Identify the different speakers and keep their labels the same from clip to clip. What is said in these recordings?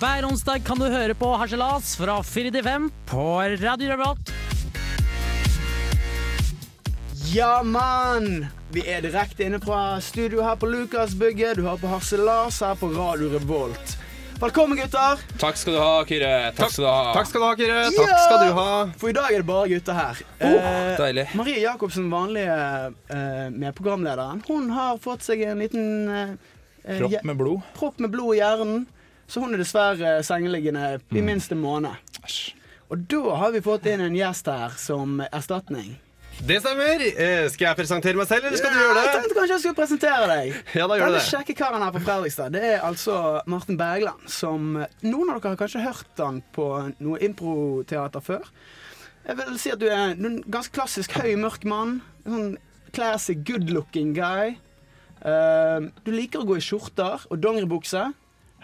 Speaker 1: Hver onsdag kan du høre på Harselas fra 4 til 5 på Radio Revolt.
Speaker 2: Ja, mann! Vi er direkte inne fra studio her på Lukasbygget. Du hører på Harselas her på Radio Revolt. Velkommen, gutter!
Speaker 3: Takk skal du ha, Kyrre. Takk skal du ha.
Speaker 4: Takk skal du ha, Kyrre. Takk skal du ha.
Speaker 2: For i dag er det bare gutter her. Eh,
Speaker 3: Oh, Deilig.
Speaker 2: Marie Jacobsen, vanlige eh, med programlederen, hun har fått seg en liten eh, eh, je-
Speaker 3: Kropp med blod.
Speaker 2: propp med blod i hjernen. Så hun er dessverre sengeliggende i minst en måned.
Speaker 3: Mm. Æsj.
Speaker 2: Og da har vi fått inn en gjest her som erstatning.
Speaker 4: Det stemmer. Eh, skal jeg presentere meg selv, eller skal du
Speaker 2: Ja, Jeg
Speaker 4: gjøre det?
Speaker 2: tenkte kanskje jeg skulle presentere deg.
Speaker 4: Ja, da gjør du
Speaker 2: Denne
Speaker 4: det.
Speaker 2: kjekke karen her på Fredrikstad, det er altså Martin Bergland, som Noen av dere har kanskje hørt han på noe improteater før. Jeg vil si at du er en ganske klassisk høy, mørk mann. En Sånn classy, good looking guy. Eh, du liker å gå i skjorter og dongeribukse.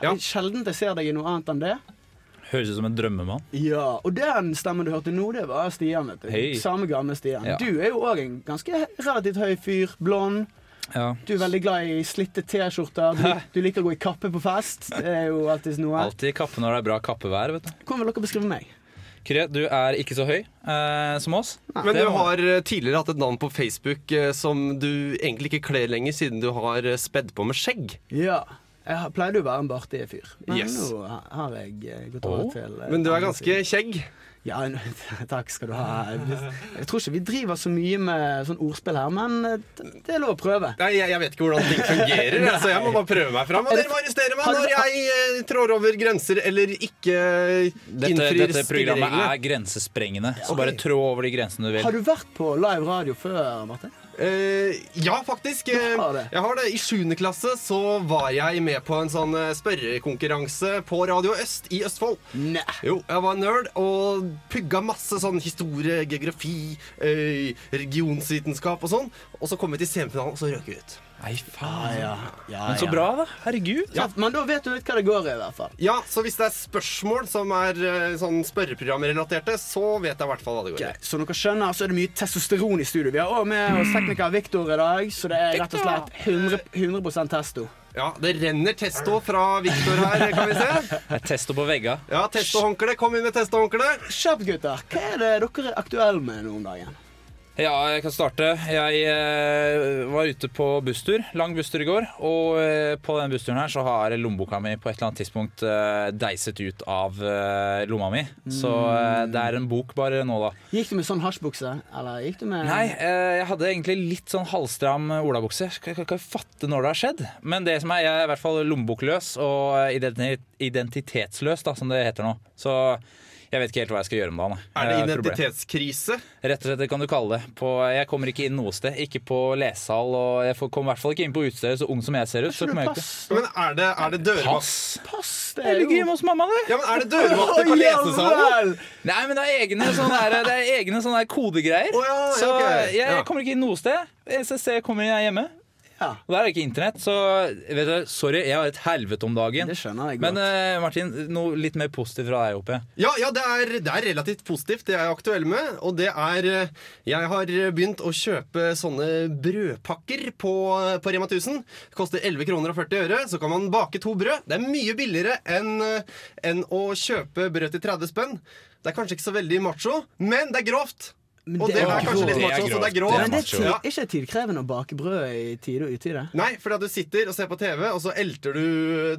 Speaker 4: Ja.
Speaker 2: Sjelden jeg ser deg i noe annet enn det.
Speaker 5: Høres ut som en drømmemann.
Speaker 2: Ja, Og den stemmen du hørte nå, det var Stian. vet du
Speaker 5: Hei.
Speaker 2: Samme gamle Stian.
Speaker 5: Ja.
Speaker 2: Du er jo òg en ganske relativt høy fyr. Blond.
Speaker 5: Ja.
Speaker 2: Du er veldig glad i slitte T-skjorter. Du, du liker å gå i kappe på fest. Det er jo alltid noe.
Speaker 5: Alltid kappe når det er bra kappevær. vet du
Speaker 2: Hvordan vil dere beskrive meg?
Speaker 5: Kyrre, du er ikke så høy eh, som oss.
Speaker 4: Men
Speaker 5: Det
Speaker 4: du
Speaker 5: må-
Speaker 4: har eh, tidligere hatt et navn på Facebook eh, som du egentlig ikke kler lenger, siden du har eh, spedd på med skjegg.
Speaker 2: Ja, jeg har- pleide jo å være en bartig fyr, men
Speaker 4: Yes.
Speaker 2: nå ha- har jeg eh, gått over
Speaker 5: Åh,
Speaker 2: til eh,
Speaker 4: Men du er
Speaker 2: andre
Speaker 4: ganske
Speaker 2: siden.
Speaker 4: kjegg.
Speaker 2: Ja, n- takk skal du ha. Jeg tror ikke vi driver så mye med sånn ordspill her, men eh, det det er lov å prøve.
Speaker 4: Nei, jeg, jeg vet ikke hvordan ting fungerer, jeg, så jeg må bare prøve meg fram. Og dere må arrestere meg når jeg eh, trår over grenser eller ikke
Speaker 5: Dette,
Speaker 4: innfrir
Speaker 5: dette programmet
Speaker 4: spillereglene.
Speaker 5: er grensesprengende, så
Speaker 2: Ok.
Speaker 5: bare trå over de grensene du
Speaker 2: Har
Speaker 5: vil.
Speaker 2: du vært på live radio før, Martin?
Speaker 4: Eh, ja, faktisk. Eh,
Speaker 2: har det.
Speaker 4: jeg har det. I 7. klasse så var jeg med på en sånn eh, spørrekonkurranse på Radio Øst i Østfold.
Speaker 2: Nei.
Speaker 4: Jo, jeg var nerd og pugga masse sånn historie, geografi, eh, regionsvitenskap og sånn. Og så kom vi til semifinalen, og så røk vi ut.
Speaker 5: Nei, faen.
Speaker 2: Ja, ja,
Speaker 5: Men så
Speaker 2: ja.
Speaker 5: bra, da. Herregud.
Speaker 2: Så- Men da vet du litt hva det går i, i hvert fall.
Speaker 4: Ja, så hvis det er spørsmål som er eh, sånn spørreprogramrelaterte, så vet jeg i hvert fall hva det går i.
Speaker 2: Ok, Som dere skjønner, så er det mye testosteron i studio. Vi har også med oss tekniker Victor i dag, så det er rett og slett 100, 100 testo.
Speaker 4: Ja, det renner testo fra Viktor her, kan vi se.
Speaker 5: Det er testo på vegga.
Speaker 4: Ja, testohåndkle. Kom inn med testohåndkle.
Speaker 2: Kjapt, gutter. Hva er det dere er aktuelle med nå om dagen?
Speaker 5: Ja, jeg kan starte. Jeg eh, var ute på busstur, lang busstur i går. Og eh, på den bussturen her så har lommeboka mi på et eller annet tidspunkt eh, deiset ut av eh, lomma mi. Så eh, det er en bok bare nå, da.
Speaker 2: Gikk du med sånn hasjbukse? Eller gikk du med
Speaker 5: Nei, eh, jeg hadde egentlig litt sånn halvstram olabukse. Jeg Kan kan ikke fatte når det har skjedd. Men det som er, jeg er i hvert fall lommebokløs og eh, identi- identitetsløs, da, som det heter nå. Så jeg vet ikke helt hva jeg skal gjøre om dagen. jeg.
Speaker 4: Er det
Speaker 5: Jeg har problemer.
Speaker 4: identitetskrise?
Speaker 5: Rett og slett, det kan du kalle det. På, jeg kommer ikke inn noe sted. Ikke på lesesal, og jeg får, kommer i hvert fall ikke inn på utestedet, så ung som jeg ser ut. Så
Speaker 2: Tror du
Speaker 5: kommer jeg ikke
Speaker 2: pass?
Speaker 4: Men er det, er det dørvakt?
Speaker 5: Pass!
Speaker 2: Pass, det
Speaker 5: Jeg
Speaker 2: er
Speaker 5: ligger
Speaker 2: jo
Speaker 5: hjemme hos mamma, du!
Speaker 4: Ja, men er det dørvakter på
Speaker 2: Å,
Speaker 4: lesesalen?
Speaker 2: jævel!
Speaker 5: Nei, men det er egne sånne, der, det er egne sånne der kodegreier.
Speaker 4: Å, ja, ja,
Speaker 5: så
Speaker 4: ok.
Speaker 5: jeg
Speaker 4: Ja.
Speaker 5: kommer ikke inn noe sted. SSC kommer jeg hjemme.
Speaker 2: Ja.
Speaker 5: Og der er det ikke internett, så vet du, sorry, jeg har et helvete om dagen.
Speaker 2: Det skjønner jeg godt.
Speaker 5: Men eh, Martin, noe litt mer positivt fra deg, håper jeg.
Speaker 4: Ja, ja det, er, det er relativt positivt, det jeg er aktuell med. Og det er eh, Jeg har begynt å kjøpe sånne brødpakker på, på Rema 1000. Det koster 11 kroner og 40 øre. Så kan man bake to brød. Det er mye billigere enn eh, enn å kjøpe brød til 30 spenn. Det er kanskje ikke så veldig macho, men det er grovt.
Speaker 2: Men
Speaker 4: og
Speaker 2: det
Speaker 4: det,
Speaker 2: er
Speaker 4: er kanskje
Speaker 2: grovt.
Speaker 4: litt macho, så det er
Speaker 5: Det er
Speaker 4: grovt.
Speaker 2: Men det er
Speaker 5: macho.
Speaker 2: tid,
Speaker 4: Ja.
Speaker 2: ikke det tidkrevende å bake brød i tide og utide?
Speaker 4: Nei, fordi at du sitter og ser på TV, og så elter du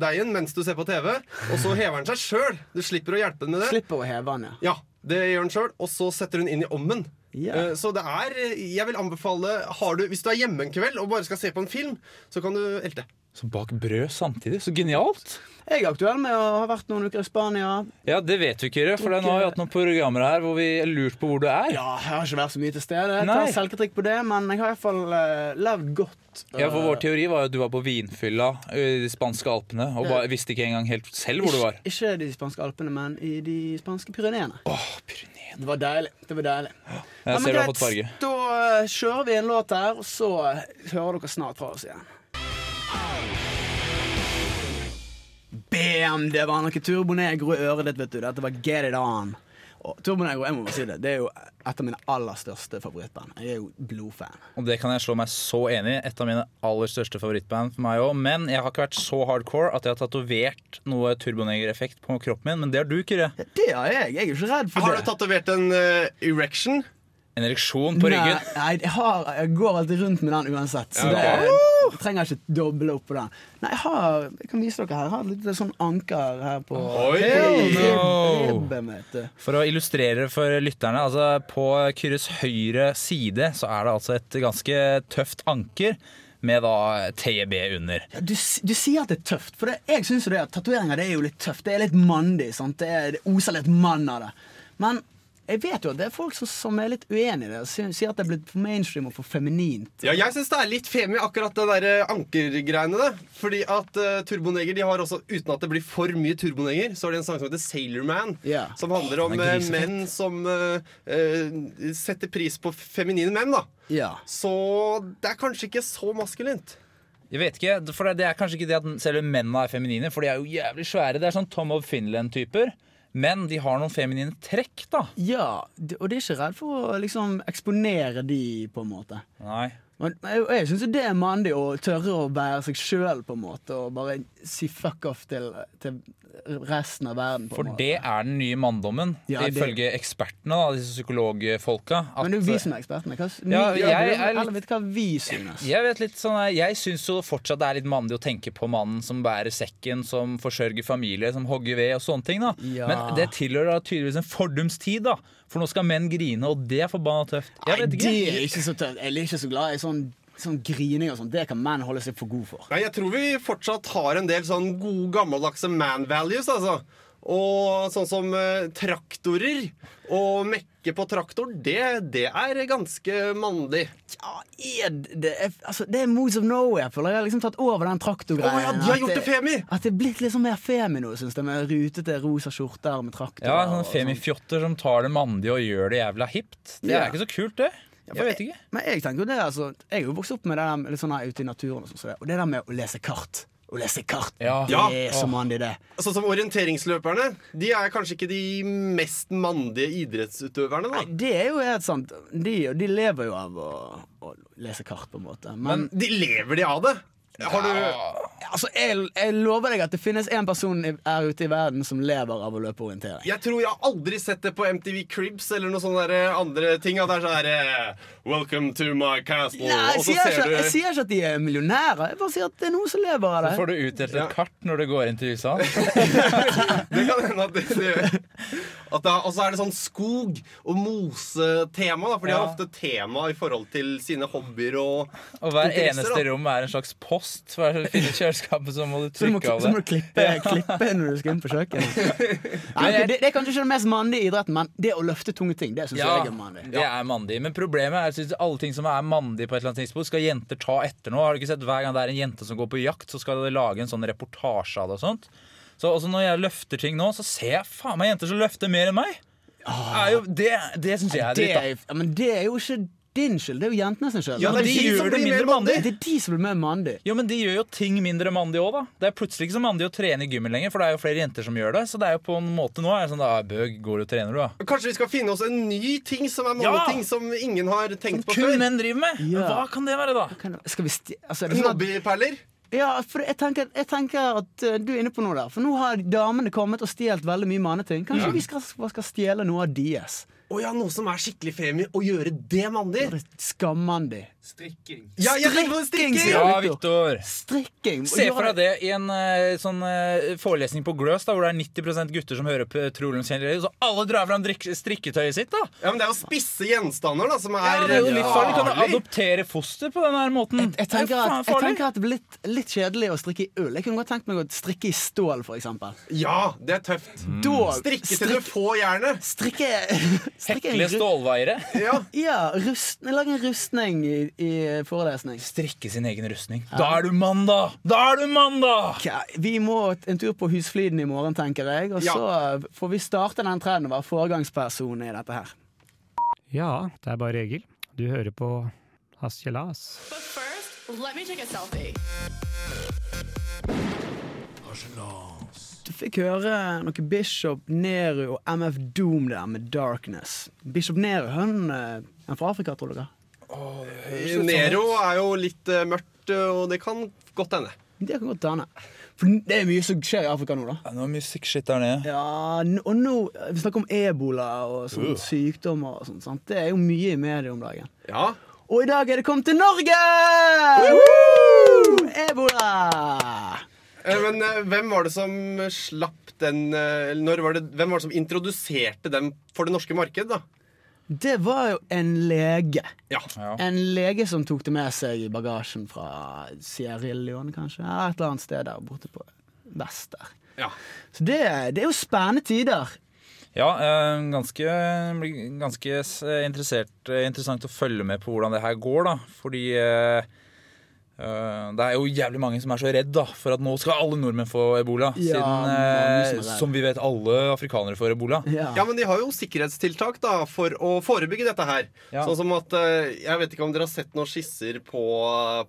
Speaker 4: deigen mens du ser på TV. Og så hever den seg sjøl. Du slipper å hjelpe den med det.
Speaker 2: Slipper å heve den, ja.
Speaker 4: Ja, det gjør den sjøl. Og så setter hun inn i ommen.
Speaker 2: Ja.
Speaker 4: Eh, Så det er Jeg vil anbefale har du, Hvis du er hjemme en kveld og bare skal se på en film, så kan du elte.
Speaker 5: Så bak brød samtidig, så genialt!
Speaker 2: Jeg er aktuell med å ha vært noen uker i Spania.
Speaker 5: Ja, det vet du ikke, Rød, for nå har vi hatt noen programmer her hvor vi har lurt på hvor du er.
Speaker 2: Ja, jeg har ikke vært så mye til stede. Jeg tar
Speaker 5: Nei.
Speaker 2: selvkritikk på det, men jeg har iallfall uh, levd godt.
Speaker 5: Ja, for Vår
Speaker 2: eh,
Speaker 5: teori var jo at du var på vinfylla ø, i de spanske alpene og bare, visste ikke engang helt selv hvor du var.
Speaker 2: Ikke, ikke de spanske alpene, men i de spanske pyreneene.
Speaker 5: Åh, Pyreneen.
Speaker 2: Det var deilig. det var deilig
Speaker 5: Jeg
Speaker 2: men
Speaker 5: ser du har
Speaker 2: greit,
Speaker 5: fått farge.
Speaker 2: Da eh, kjører vi en låt her, og så eh, hører dere snart fra oss igjen. Bam! Det var noe turbonegro i øret ditt, vet du. Dette var Get It On. Og Turbonego, jeg må bare si det, det er jo et av mine aller største favorittband. Jeg er jo blodfan.
Speaker 5: Og det kan jeg slå meg så enig i. Et av mine aller største favorittband for meg òg. Men jeg har ikke vært så hardcore at jeg har tatovert noe turbonegereffekt på kroppen min. Men det har du, Kyrre.
Speaker 2: Det har jeg. Jeg er jo ikke redd for
Speaker 4: Har
Speaker 2: det.
Speaker 4: du tatovert en eh, erection?
Speaker 5: En ereksjon på
Speaker 2: Nei,
Speaker 5: ryggen.
Speaker 2: Nei, jeg, har, jeg går alltid rundt med den uansett. Så
Speaker 5: Ja, ok.
Speaker 2: det, jeg trenger ikke doble opp på den. Nei, jeg har Jeg kan vise dere her. Jeg har et lite sånn anker her på
Speaker 4: Oi!
Speaker 5: Hell no!
Speaker 2: ribben, vet du.
Speaker 5: For å illustrere for lytterne, altså på Kyrres høyre side så er det altså et ganske tøft anker med da TB under.
Speaker 2: Ja, du, s- du sier at det er tøft, for det, jeg syns jo det at tatoveringer det er jo litt tøft. Det er litt mandig. sant? Det, er, det oser litt mann av det. Men jeg vet jo at det er folk som, som er litt uenig i det, og sy- sier at det er blitt for mainstream og for feminint.
Speaker 4: Ja, jeg syns det er litt femi, akkurat det der eh, ankergreiene. da. Fordi at eh, Turboneger de har også, uten at det blir for mye Turboneger, så har de en sang som heter Sailor Man.
Speaker 2: Ja.
Speaker 4: Som handler om
Speaker 5: den er
Speaker 4: eh,
Speaker 5: grisefett.
Speaker 4: menn som eh, eh, setter pris på feminine menn, da.
Speaker 2: Ja.
Speaker 4: Så det er kanskje ikke så maskulint.
Speaker 5: Jeg vet ikke, for det- det er kanskje ikke det at selve mennene er feminine, for de er jo jævlig svære. Det er sånn Tom of Finland-typer. Men de har noen feminine trekk, da.
Speaker 2: ja, d- og de er ikke redd for å liksom eksponere de, på en måte.
Speaker 5: Nei.
Speaker 2: Men jeg, jeg syns det er mandig å tørre å være seg sjøl, på en måte. Og bare si fuck off til, til resten av verden. På
Speaker 5: For
Speaker 2: en måte.
Speaker 5: det er den nye manndommen,
Speaker 2: Ja, det-
Speaker 5: ifølge ekspertene, da, disse psykologfolka. at-
Speaker 2: Men det er jo vi som er ekspertene. Hva,
Speaker 5: Ja,
Speaker 2: vi,
Speaker 5: jeg er
Speaker 2: eller
Speaker 5: litt-
Speaker 2: vet hva vi synes.
Speaker 5: Jeg vet litt sånn, jeg syns jo fortsatt det er litt mandig å tenke på mannen som bærer sekken, som forsørger familie, som hogger ved og sånne ting. da
Speaker 2: Ja.
Speaker 5: Men det tilhører da tydeligvis en fordums tid, da. For nå skal menn grine, og det er forbanna tøft. Jeg vet
Speaker 2: Nei, det
Speaker 5: ikke.
Speaker 2: er ikke så tøft. Jeg er ikke så glad i sånn, sånn grining og sånn. Det kan menn holde seg for god for.
Speaker 4: Nei, jeg tror vi fortsatt har en del sånn gode, gammeldagse man values, altså. Og sånn som eh, traktorer og mekke på traktor, det, det er ganske mandig.
Speaker 2: Ja, er det, det er, altså, det er moods of nowhere. Jeg føler jeg har liksom tatt over den traktorgreien.
Speaker 4: Å ja, de har
Speaker 2: At
Speaker 4: gjort det femi!
Speaker 2: At det er blitt litt sånn mer femi nå, syns jeg. Med rutete rosa skjorter med traktorer.
Speaker 5: Ja,
Speaker 2: og
Speaker 5: sånne
Speaker 2: sånn.
Speaker 5: femifjotter som tar det mandige og gjør det jævla hipt. Det
Speaker 2: Ja.
Speaker 5: er ikke så kult, det. Jeg vet ikke.
Speaker 2: Men jeg tenker jo det, altså Jeg er jo vokst opp med det der litt sånn her ute i naturen, og, sånn, som det, og det der med å lese kart. Å lese kart,
Speaker 5: Ja.
Speaker 2: det
Speaker 4: Ja.
Speaker 2: er så mandig, det.
Speaker 4: Sånn som orienteringsløperne. De er kanskje ikke de mest mandige idrettsutøverne, da.
Speaker 2: Det er jo helt sant. De, de lever jo av å, å lese kart, på en måte. Men,
Speaker 4: De lever de av det? Har du
Speaker 2: altså, jeg, jeg lover deg at det finnes én person i- her ute i verden som lever av å løpe orientering.
Speaker 4: Jeg tror jeg har aldri sett det på MTV Cribs eller noen sånne der eh, andre ting. At det er sånn her, eh, Welcome to my castle.
Speaker 2: Nei, jeg
Speaker 4: og
Speaker 2: sier,
Speaker 4: så
Speaker 2: ikke,
Speaker 4: ser
Speaker 2: jeg
Speaker 4: du
Speaker 2: sier ikke at de er millionærer. Jeg bare sier at det er noen som lever av
Speaker 5: Så
Speaker 2: det.
Speaker 5: får du utdelt et kart når du går inn til USA.
Speaker 4: Det kan hende at det, det gjør. At det er- Og så er det sånn skog- og mosetema, da, for de har
Speaker 5: Ja.
Speaker 4: ofte tema i forhold til sine hobbyer og
Speaker 5: Og hver
Speaker 4: interesser,
Speaker 5: eneste
Speaker 4: da.
Speaker 5: rom er en slags post. For er det så fint i kjøleskapet, så må du
Speaker 2: Så du, må,
Speaker 5: trykke av
Speaker 2: så må
Speaker 5: det.
Speaker 2: du klippe, klippe når du skal inn på kjøkkenet. Nei, ok, det, det er kanskje ikke den mest mandige idretten, men det å løfte tunge ting, det syns jeg er mandig.
Speaker 5: det er mandig. Men problemet er at alle ting som er mandig på et eller annet tidspunkt, skal jenter ta etter nå. Har du ikke sett Hver gang det er en jente som går på jakt, så skal de lage en sånn reportasje av det og sånt. Så også når jeg løfter ting nå, så ser jeg faen meg jenter som løfter mer enn meg. Er jo, det det syns jeg er
Speaker 2: Ah. Det
Speaker 5: dritt.
Speaker 2: er,
Speaker 5: da.
Speaker 2: ja, men det er jo ikke din skyld, det er jo jentene sin skyld.
Speaker 4: Ja,
Speaker 5: Men
Speaker 4: det er
Speaker 5: de
Speaker 4: de som
Speaker 5: gjør det
Speaker 4: blir mer
Speaker 5: mindre mandig.
Speaker 2: Det er de som blir mer mandig.
Speaker 5: Jo, men De gjør jo ting mindre mandig òg, da. Det er plutselig ikke så mandig å trene i gymmen lenger, for det er jo flere jenter som gjør det. Så det er jo på en måte nå er det sånn da, Bøg, går du og trener, du, da?
Speaker 4: Kanskje vi skal finne oss en ny ting som er mange
Speaker 5: Ja!
Speaker 4: ting som ingen har tenkt på
Speaker 5: Kun
Speaker 4: før?
Speaker 5: menn driver med!
Speaker 2: Ja.
Speaker 5: Hva kan det være, da?
Speaker 2: Kan, skal vi sti... Altså, nå-
Speaker 4: Snobbyperler?
Speaker 2: ja, for jeg tenker, jeg tenker at eh, du er inne på noe der. For nå har damene kommet og stjålet veldig mye manneting. Kanskje vi skal, bare skal stjele noe av deres?
Speaker 4: Å ja, noe som er skikkelig femi, å gjøre det mandig?
Speaker 2: Det er Skammandig.
Speaker 3: Strikking.
Speaker 4: Ja, jeg tenker på
Speaker 2: Strikking,
Speaker 4: strikking!
Speaker 2: sier
Speaker 5: Ja,
Speaker 2: Victor.
Speaker 5: Viktor.
Speaker 2: Strikking.
Speaker 5: Se for deg det i en eh, sånn eh, forelesning på Gløs, da, hvor det er 90 gutter som hører på Trolumskjenderier, så alle drar fram drikk- strikketøyet sitt, da!
Speaker 4: Ja, men det er jo spisse gjenstander, da, som er
Speaker 5: Ja, det er jo litt farlig. Kan du
Speaker 4: farlig.
Speaker 5: adoptere foster på den her måten?
Speaker 2: Jeg
Speaker 5: Det
Speaker 2: tenker,
Speaker 5: er jo
Speaker 2: at,
Speaker 5: faen
Speaker 2: jeg
Speaker 5: farlig.
Speaker 2: tenker at det blir litt, litt kjedelig å strikke i ull. Jeg kunne godt tenkt meg å strikke i stål, for eksempel.
Speaker 4: Ja, det er tøft.
Speaker 5: Mm.
Speaker 2: Da-
Speaker 4: Strikke til
Speaker 2: strik-
Speaker 4: du får jernet.
Speaker 2: Strikke, strikke en
Speaker 5: Hekle
Speaker 2: ru-
Speaker 5: stålvaiere.
Speaker 4: Ja.
Speaker 2: Ja, rust, lag en rustning i, i forelesning.
Speaker 5: Strikke sin egen rustning. Da er du mann, da! Da er du mann, da!
Speaker 2: Ok, Vi må en tur på Husfliden i morgen, tenker jeg. Og
Speaker 4: Ja.
Speaker 2: så får vi starte den trenden og være foregangsperson i dette her.
Speaker 6: Ja, det er bare Egil. Du hører på Hasjelas.
Speaker 7: But first, let me take a selfie.
Speaker 2: Du fikk høre noe Bishop Nehru og MF Doom der med 'Darkness'. Bishop Nehru, han eh, er fra Afrika, tror dere?
Speaker 5: sånn.
Speaker 4: Nero er jo litt eh, mørkt, og det kan godt hende.
Speaker 2: Det kan godt hende. For det er mye som skjer i Afrika nå, da.
Speaker 5: Det er noe musikkskitt der nede.
Speaker 2: Ja, n- og nå eh, Vi snakker om ebola og sånne sykdommer og sånt. Sant? Det er jo mye i media om dagen.
Speaker 4: Ja,
Speaker 2: Og i dag er det kommet til Norge! Ebola!
Speaker 4: Eh, Men eh, hvem var det som slapp den eh, eller når var det, Hvem var det som introduserte dem for det norske markedet, da?
Speaker 2: Det var jo en lege.
Speaker 4: Ja.
Speaker 5: Ja.
Speaker 2: En lege som tok det med seg i bagasjen fra Sierra Leone, kanskje. Ja, Et eller annet sted der borte på vest der.
Speaker 4: ja.
Speaker 2: Så det, det er jo spennende tider.
Speaker 5: Ja, eh, ganske, blir ganske s- interessert, eh, interessant å følge med på hvordan det her går, da. Fordi eh, eh, det er jo jævlig mange som er så redd da, for at nå skal alle nordmenn få ebola.
Speaker 2: Ja, mange som
Speaker 5: siden,
Speaker 2: er
Speaker 5: eh,
Speaker 2: redd.
Speaker 5: som vi vet, alle afrikanere får ebola.
Speaker 2: Ja.
Speaker 4: Ja, men de har jo sikkerhetstiltak da for å forebygge dette her.
Speaker 5: Ja.
Speaker 4: Sånn som at eh, Jeg vet ikke om dere har sett noen skisser på,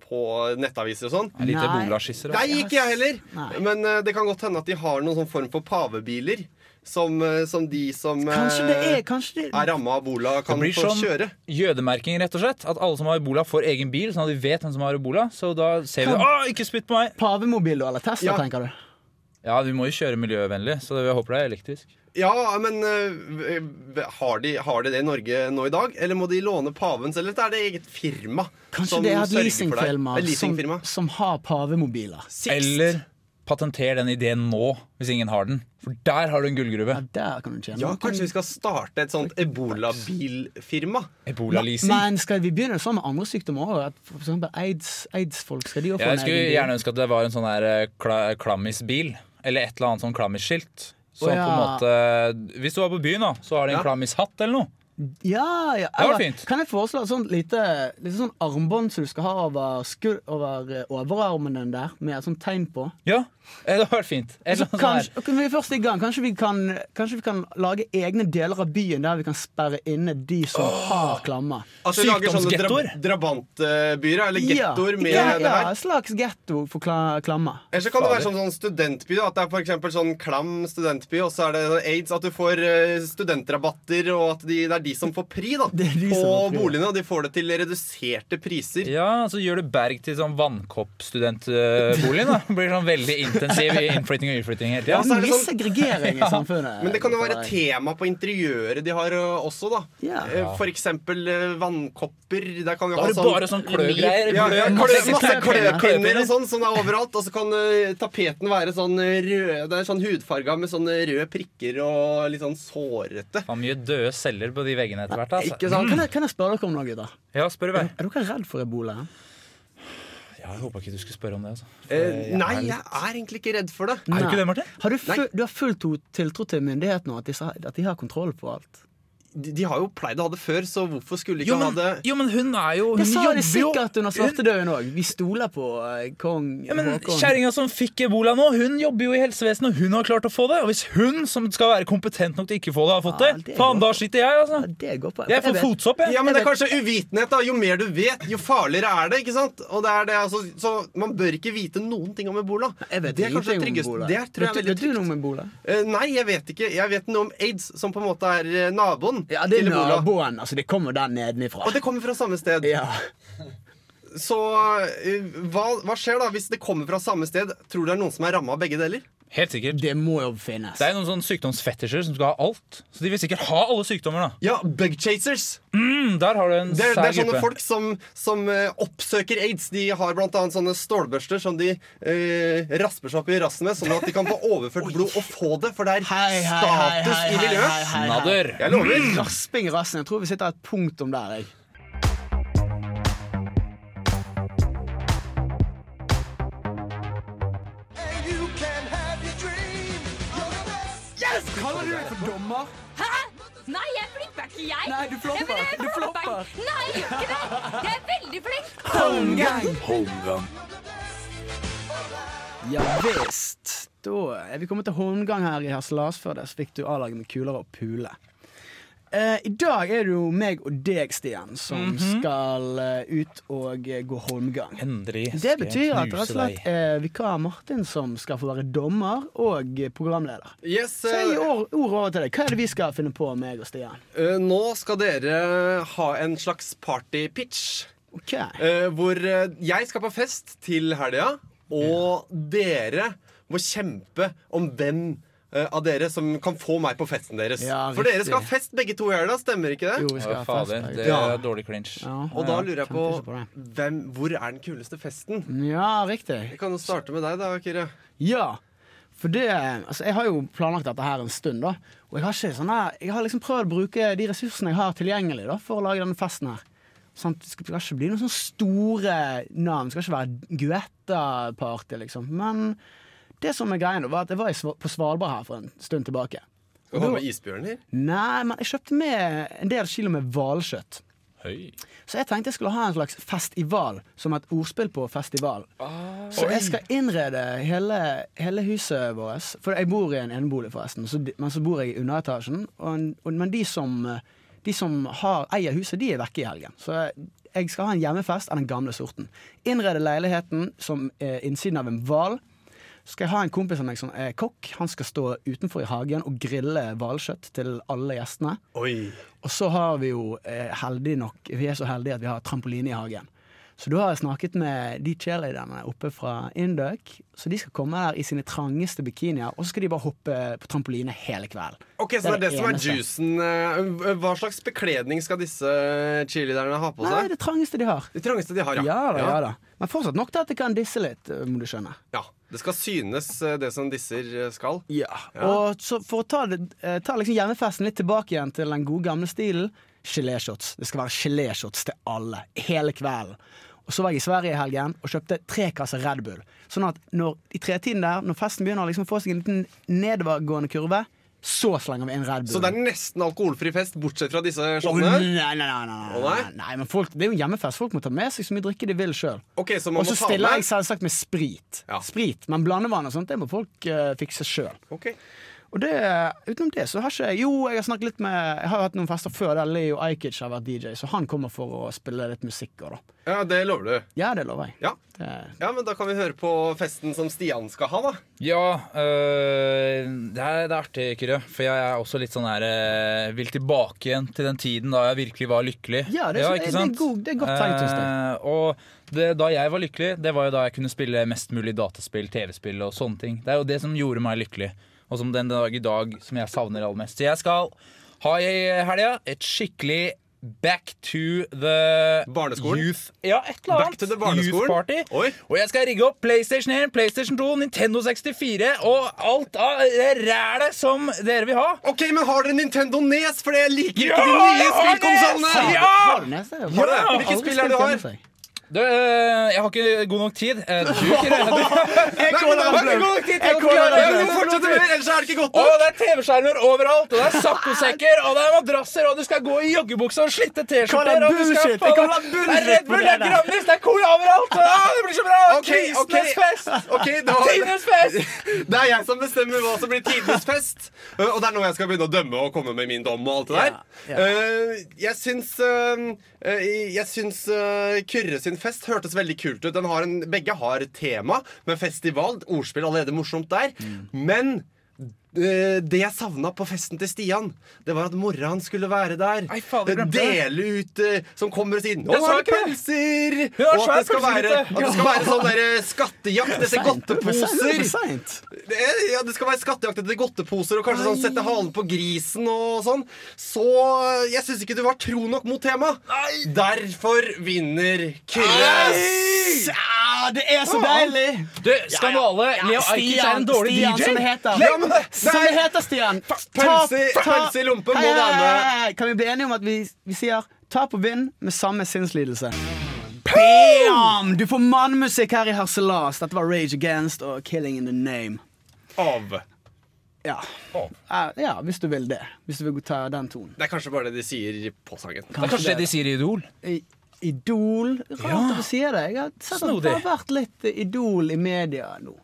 Speaker 4: på nettaviser og sånn.
Speaker 5: Det er Litt
Speaker 2: Nei.
Speaker 5: ebolaskisser. altså.
Speaker 4: Nei, ikke jeg heller.
Speaker 2: Nei.
Speaker 4: Men eh, det kan godt hende at de har noen sånn form for pavebiler som, eh, som de som eh,
Speaker 2: Kanskje det er Kanskje det sånn-
Speaker 4: er ramma av ebola, kan
Speaker 5: blir
Speaker 4: få
Speaker 5: som-
Speaker 4: kjøre.
Speaker 5: Jødemerking, rett og slett. At alle som har ebola, får egen bil, sånn at de vet hvem som har ebola. Så da ser vi
Speaker 2: Kan-
Speaker 5: Å, ikke spytt på meg!
Speaker 2: Pavemobil, da, eller Tesla,
Speaker 4: Ja.
Speaker 2: tenker du?
Speaker 5: Ja, vi må jo kjøre miljøvennlig, så jeg håper det er elektrisk.
Speaker 4: Ja, men eh, v- har, de, har de det i Norge nå i dag? Eller må de låne pavens, eller er det eget firma?
Speaker 2: Kanskje
Speaker 4: som
Speaker 2: det er et
Speaker 4: sørger for deg?
Speaker 2: leasingfirma som,
Speaker 4: Et leasingfirma.
Speaker 2: som har pavemobiler.
Speaker 5: Eller patenter den ideen nå, hvis ingen har den. For der har du en gullgruve.
Speaker 2: Ja, der kan du tjene
Speaker 4: Ja,
Speaker 2: noe.
Speaker 4: kanskje vi skal starte et sånt ebolabilfirma?
Speaker 5: Ebola-leasing.
Speaker 2: Men skal vi begynne sånn med andre sykdommer òg? For eksempel aids- aids-folk, skal de jo få
Speaker 5: Jeg
Speaker 2: en
Speaker 5: skulle
Speaker 2: egen bil?
Speaker 5: gjerne ønske at det var en sånn der eh, kla klammisbil. Eller et eller annet sånn klammisskilt. Så
Speaker 2: Å, ja.
Speaker 5: på en måte Hvis du var på byen, da, så har de en
Speaker 4: Ja.
Speaker 5: klammishatt eller noe.
Speaker 2: Ja, ja.
Speaker 5: var
Speaker 2: Eller,
Speaker 5: fint.
Speaker 2: Kan jeg foreslå et sånt lite, lite sånn armbånd som du skal ha over, skur, over eh, overarmen din der, med et sånt tegn på?
Speaker 5: Ja, eh, det hadde vært fint. Et
Speaker 4: Altså,
Speaker 2: Så
Speaker 5: eller annet
Speaker 2: kanskje,
Speaker 5: sånn
Speaker 2: ok, vi er først i gang. Kanskje vi, kan, kanskje vi kan lage egne deler av byen der vi kan sperre inne de som har klammer.
Speaker 4: At vi Altså, lager sånne
Speaker 5: Sykdomsgettoer.
Speaker 4: drabantbyer, eller
Speaker 2: Ja,
Speaker 4: gettoer med
Speaker 2: ja,
Speaker 4: det
Speaker 2: Ja,
Speaker 4: her.
Speaker 2: en slags getto for kla- klammer.
Speaker 4: Eller så kan det være
Speaker 5: Fader.
Speaker 4: sånn, sånn studentby. Da, at det er for eksempel sånn klam studentby, og så er det sånn aids. At du får eh, studentrabatter, og at de, det er de som får pri da,
Speaker 2: Det er de
Speaker 4: på
Speaker 2: som får pri, ja.
Speaker 4: boligene. Og de får det til reduserte priser.
Speaker 5: ja, så gjør du Berg til sånn vannkoppstudentbolig. da. Blir sånn veldig intensiv i innflytting og utflytting hele
Speaker 2: Det
Speaker 5: tida.
Speaker 2: er
Speaker 4: så er det
Speaker 2: mye
Speaker 4: sånn-
Speaker 2: segregering i samfunnet.
Speaker 4: Men det kan jo være
Speaker 2: Føler
Speaker 4: et
Speaker 2: jeg.
Speaker 4: tema på interiøret de har ø, også, da.
Speaker 2: Ja.
Speaker 4: Eh, For eksempel ø, vannkopper. Der kan vi
Speaker 5: Da er
Speaker 4: ha
Speaker 5: det
Speaker 4: sånn
Speaker 5: bare sånn kløgreier.
Speaker 4: ja,
Speaker 5: Klø-
Speaker 4: klø, masse
Speaker 5: kløpinner.
Speaker 4: kløpinner og sånn som er overalt. Og så kan ø, tapeten være sånn ø, rød Det er sånn hudfarga med sånne røde prikker og litt sånn sårete.
Speaker 5: Faen, mye døde celler på de veggene etter hvert. Altså.
Speaker 4: Ikke sant?
Speaker 2: Kan jeg, kan jeg spørre dere om noe, gutter?
Speaker 5: Ja, spør i vei.
Speaker 2: Er dere redd for ebola?
Speaker 5: Ja, jeg håpa ikke du skulle spørre om det. altså.
Speaker 4: Eh, nei, jeg er egentlig ikke redd for det.
Speaker 5: Er du
Speaker 2: Nei.
Speaker 5: ikke det, Martin?
Speaker 2: Har du, full, du har full to- tiltro til myndighetene og at, de sa- at de har kontroll på alt?
Speaker 4: De, de har jo pleid å ha det før, så hvorfor skulle de
Speaker 5: Jo
Speaker 4: ikke
Speaker 5: men,
Speaker 4: ha det
Speaker 5: jo, men hun er jo
Speaker 2: Det
Speaker 5: hun
Speaker 2: sa de
Speaker 5: jobber jo-
Speaker 2: sikkert under svartedauden òg. Vi stoler på eh, kong
Speaker 5: Ja, men
Speaker 2: Håkon.
Speaker 5: Kjerringa som fikk ebola nå, hun jobber jo i helsevesenet, og hun har klart å få det. Og hvis hun, som skal være kompetent nok til ikke få det, har fått
Speaker 2: Ja,
Speaker 5: det,
Speaker 2: det er
Speaker 5: faen,
Speaker 2: bra.
Speaker 5: da sliter jeg,
Speaker 2: Ja,
Speaker 5: altså.
Speaker 2: det går på.
Speaker 5: Jeg
Speaker 2: For
Speaker 5: får
Speaker 2: vet-
Speaker 5: fotsopp, jeg.
Speaker 4: Ja, men det er kanskje uvitenhet. da Jo mer du vet, jo farligere er det. ikke sant? Og det er det, altså, så Man bør ikke vite noen ting om ebola.
Speaker 2: Jeg vet
Speaker 4: det er kanskje
Speaker 2: ingenting om
Speaker 4: det tryggeste.
Speaker 2: ebola.
Speaker 4: Det er, tror jeg
Speaker 2: vet,
Speaker 4: er veldig
Speaker 2: vet du
Speaker 4: trygt.
Speaker 2: noe om ebola?
Speaker 4: Eh, nei, jeg vet ikke. Jeg vet noe om aids, som på en måte er eh, naboen
Speaker 2: Ja, det er
Speaker 4: til ebola.
Speaker 2: naboen. Altså, det kommer der nedenifra.
Speaker 4: Og det kommer fra samme sted.
Speaker 2: Ja.
Speaker 4: Så eh, hva, hva skjer da hvis det kommer fra samme sted? Tror du det er noen som er ramma av begge deler?
Speaker 5: Helt sikkert.
Speaker 2: Det må jo finnes.
Speaker 5: Det er jo noen sånne sykdomsfetisjer som skal ha alt. Så de vil sikkert ha alle sykdommer, da.
Speaker 4: Ja, bugchasers.
Speaker 5: Mm, der har du en
Speaker 4: Det, er- det
Speaker 5: sær
Speaker 4: er sånne
Speaker 5: gruppe.
Speaker 4: folk som, som eh, oppsøker aids. De har blant annet sånne stålbørster som de eh, rasper seg opp i rassen med, sånn at de kan få overført blod og få det, for det er
Speaker 2: Hei, hei, hei,
Speaker 4: status
Speaker 2: hei,
Speaker 4: i
Speaker 2: hei,
Speaker 4: miljøet.
Speaker 2: hei, hei, hei.
Speaker 5: Nadder.
Speaker 4: Jeg lover.
Speaker 5: Mm.
Speaker 2: Rasping i rassen. Jeg tror vi sitter et punktum der. Jeg. Kaller du deg for dommer?
Speaker 7: Nei, jeg flipper ikke, jeg.
Speaker 2: Nei, du flopper.
Speaker 7: Ja, men jeg
Speaker 2: Du
Speaker 7: flopper.
Speaker 2: flopper.
Speaker 7: Nei, jeg gjør ikke det. Jeg er veldig flink. Oh,
Speaker 2: Ja visst. Da er vi kommet til håndgang her i Harselas. Før det så fikk du A-laget med kuler og pule. Eh, I dag er det jo meg og deg, Stian, som skal eh, ut og eh, gå holmgang.
Speaker 5: Endelig
Speaker 2: Det betyr at rett og slett eh, vikar Martin som skal få være dommer og eh, programleder.
Speaker 4: Yes,
Speaker 2: Så jeg
Speaker 4: eh,
Speaker 2: gir ord, ord over til deg. Hva er det vi skal finne på, meg og Stian?
Speaker 4: eh, nå skal dere ha en slags party-pitch.
Speaker 2: Ok,
Speaker 4: eh, hvor eh, jeg skal på fest til helga, og dere må kjempe om hvem eh, av dere som kan få meg på festen deres.
Speaker 2: Ja,
Speaker 4: For dere skal
Speaker 2: riktig.
Speaker 4: ha fest begge to i helga, stemmer ikke det?
Speaker 2: Jo, vi skal ha fest.
Speaker 5: Fader, det
Speaker 4: Ja.
Speaker 5: er dårlig clinch.
Speaker 2: Ja.
Speaker 4: Og da lurer jeg på,
Speaker 2: tenkte ikke på Mm.
Speaker 4: hvem, hvor er den kuleste festen?
Speaker 2: Ja, riktig.
Speaker 4: Vi kan jo starte med deg, da, Kyrre.
Speaker 2: Ja, for det Altså, jeg har jo planlagt dette her en stund, da. Og jeg har ikke sånn her Jeg har liksom prøvd å bruke de ressursene jeg har tilgjengelig, da, for å lage denne festen her. Sant? Det skal det skal ikke bli noen sånne store navn. Det skal ikke være Guetta-party, liksom. Men det som er greia, da, var at jeg var i Sva- på Svalbard her for en stund tilbake.
Speaker 4: Skal du ha med isbjørner?
Speaker 2: Nei, men jeg kjøpte med en del kilo med hvalkjøtt. Så jeg tenkte jeg skulle ha en slags festival, som et ordspill på festival. så jeg skal innrede hele, hele huset vårt. For jeg bor i en enebolig, forresten, så de, men så bor jeg i underetasjen. Og, en- og, men de som, de som har, eier huset, de er vekke i helgen. Så jeg skal ha en hjemmefest av den gamle sorten. Innrede leiligheten som eh, innsiden av en hval. Så skal jeg ha en kompis av meg som er kokk. Han skal stå utenfor i hagen og grille hvalkjøtt til alle gjestene.
Speaker 4: Oi.
Speaker 2: Og så har vi jo eh, heldig nok Vi er så heldige at vi har trampoline i hagen. Så da har jeg snakket med de cheerleaderne oppe fra Induc. Så de skal komme der i sine trangeste bikinier, og så skal de bare hoppe på trampoline hele kvelden.
Speaker 4: Ok, Så det er det, som er
Speaker 2: eneste.
Speaker 4: juicen. eh, Hva slags bekledning skal disse cheerleaderne ha på
Speaker 2: Nei,
Speaker 4: seg?
Speaker 2: det trangeste de har.
Speaker 4: De trangeste de har,
Speaker 2: Ja da, ja da. Men fortsatt nok til at de kan disse litt, eh, må du skjønne.
Speaker 4: Ja, Det skal synes, eh, det som disser eh, skal. Ja.
Speaker 2: Og så for å ta, det, eh, ta liksom hjemmefesten litt tilbake igjen til den gode gamle stilen Geléshots. Det skal være geléshots til alle, hele kvelden. Og så var jeg i Sverige i helgen og kjøpte tre kasser Red Bull. Sånn at når, i tretiden der, når festen begynner å liksom få seg en liten nedovergående kurve, så slenger vi inn Red Bull.
Speaker 4: Så det er nesten alkoholfri fest, bortsett fra disse
Speaker 2: Å,
Speaker 4: shottene?
Speaker 2: nei, nei, nei, nei,
Speaker 4: Å,
Speaker 2: nei,
Speaker 4: nei?
Speaker 2: nei, men folk, det er jo en hjemmefest. Folk må ta med seg så mye drikke de vil sjøl.
Speaker 4: Ok, så man
Speaker 2: Og
Speaker 4: må
Speaker 2: så
Speaker 4: ta
Speaker 2: stiller jeg
Speaker 4: med
Speaker 2: selvsagt med sprit.
Speaker 4: Ja.
Speaker 2: Sprit, Men blandevann og sånt, det må folk eh, fikse sjøl.
Speaker 4: Ok.
Speaker 2: Og det, utenom det så har ikke jeg Jo, jeg har snakket litt med Jeg har hatt noen fester før der Leo Ajkic har vært DJ, så han kommer for å spille litt musikk òg, da.
Speaker 4: Ja, det lover du.
Speaker 2: Ja, det lover jeg.
Speaker 4: Ja.
Speaker 2: Det,
Speaker 4: ja, men da kan vi høre på festen som Stian skal ha, da.
Speaker 5: Ja, øh, det, er, det er artig, Kyrre. For jeg er også litt sånn her øh, Vil tilbake igjen til den tiden da jeg virkelig var lykkelig.
Speaker 2: Ja, det er så- det er god- det er godt tegn, synes
Speaker 5: Eh, og det, da jeg var lykkelig, det var jo da jeg kunne spille mest mulig dataspill, TV-spill og sånne ting. Det er jo det som gjorde meg lykkelig, og som den dag i dag som jeg savner aller mest. Så jeg skal ha i helga et skikkelig Back to the
Speaker 4: Barneskolen?
Speaker 5: Youth Ja, et eller annet.
Speaker 4: Back to the barneskolen?
Speaker 5: Youth party.
Speaker 4: Oi.
Speaker 5: Og jeg skal rigge opp PlayStation 1, PlayStation 2, Nintendo 64 og alt av det rælet som dere vil ha.
Speaker 4: OK, men har dere Nintendo Nes? For jeg liker
Speaker 5: Ja,
Speaker 4: ikke de nye
Speaker 5: jeg har
Speaker 4: spillkonsollene!
Speaker 5: Nes! Ja!
Speaker 2: Har du nese?
Speaker 4: Har du det?
Speaker 2: Har
Speaker 4: Hvilke
Speaker 2: aldri
Speaker 4: spill er det
Speaker 2: spilt
Speaker 4: du
Speaker 2: hjemme,
Speaker 4: har?
Speaker 2: seg.
Speaker 5: Du, øh, jeg har ikke god nok tid. Eh, Du, Kyrre.
Speaker 2: Jeg
Speaker 4: Nei,
Speaker 2: caller det
Speaker 4: men det var ikke
Speaker 2: bløff.
Speaker 4: god nok tid til
Speaker 2: Jeg
Speaker 4: å
Speaker 2: caller
Speaker 4: forklare.
Speaker 2: det
Speaker 4: Ja, men
Speaker 2: bløff.
Speaker 4: Fortsett mer, ellers er det ikke godt
Speaker 5: Å,
Speaker 4: nok.
Speaker 5: det er TV-skjermer overalt, og det er saccosekker, og det er madrasser, og du skal gå i joggebukse og slitte
Speaker 2: Kaller
Speaker 5: T-skjorter
Speaker 2: det
Speaker 5: og du skal
Speaker 2: bullshit. Jeg kaller det
Speaker 5: Det er Red
Speaker 2: bullshit på
Speaker 5: Bull,
Speaker 2: det
Speaker 5: det er
Speaker 2: der.
Speaker 5: Grandis, det er cola overalt! Ah, det blir så bra!
Speaker 4: Ok, ok.
Speaker 5: Kristenes fest!
Speaker 4: Ok, da,
Speaker 5: Tidenes fest!
Speaker 4: Det er jeg som bestemmer hva som blir tidenes fest. Eh, Og det er nå jeg skal begynne å dømme og komme med min dom og alt det der.
Speaker 2: Ja, ja.
Speaker 4: Eh, Jeg syns, eh, eh, jeg syns eh, Kyrre sin fest hørtes veldig kult ut. Den har en, begge har tema, men festival, ordspill allerede morsomt der.
Speaker 5: Mm.
Speaker 4: Men eh, det jeg savna på festen til Stian, det var at mora hans skulle være der.
Speaker 5: Nei, fader, glemte det.
Speaker 4: Dele ut eh, Som kommer og sier 'Nå
Speaker 5: Jeg sa
Speaker 4: har du
Speaker 5: ikke det.
Speaker 4: pølser!'
Speaker 5: Hun har
Speaker 4: Og at det
Speaker 5: svær
Speaker 4: skal være,
Speaker 5: pølsehytte.
Speaker 4: at det skal være sånn der, eh, skattejakt etter godteposer.
Speaker 2: Seint.
Speaker 4: Det, er, ja, det skal være skattejakt etter godteposer og kanskje sånn sette halen på grisen og sånn. Så eh, jeg syns ikke du var tro nok mot temaet. Derfor vinner Kyrre.
Speaker 2: Ja, det er så deilig!
Speaker 5: Du, skandale. Leo Ajkic er
Speaker 4: sånn
Speaker 5: en dårlig
Speaker 2: Stian,
Speaker 5: DJ.
Speaker 2: som det heter.
Speaker 4: Ja, men det-
Speaker 2: Som det heter, Stian.
Speaker 4: pølse- pølse i lompen må
Speaker 2: Hei, hei,
Speaker 4: være med.
Speaker 2: hei, hei. Kan vi bli enige om at vi, vi sier tap og vinn med samme sinnslidelse? Bam! Du får mannmusikk her i Harselas. Dette var Rage Against og Killing in the Name.
Speaker 4: Av.
Speaker 2: Ja. Eh, ja, hvis du vil det. Hvis du vil ta den tonen.
Speaker 4: Det er kanskje bare det de sier på sangen.
Speaker 5: Det er kanskje det de sier i Idol.
Speaker 2: I- Idol. Rart at du sier det. Jeg har sett at det har vært litt Idol i media nå.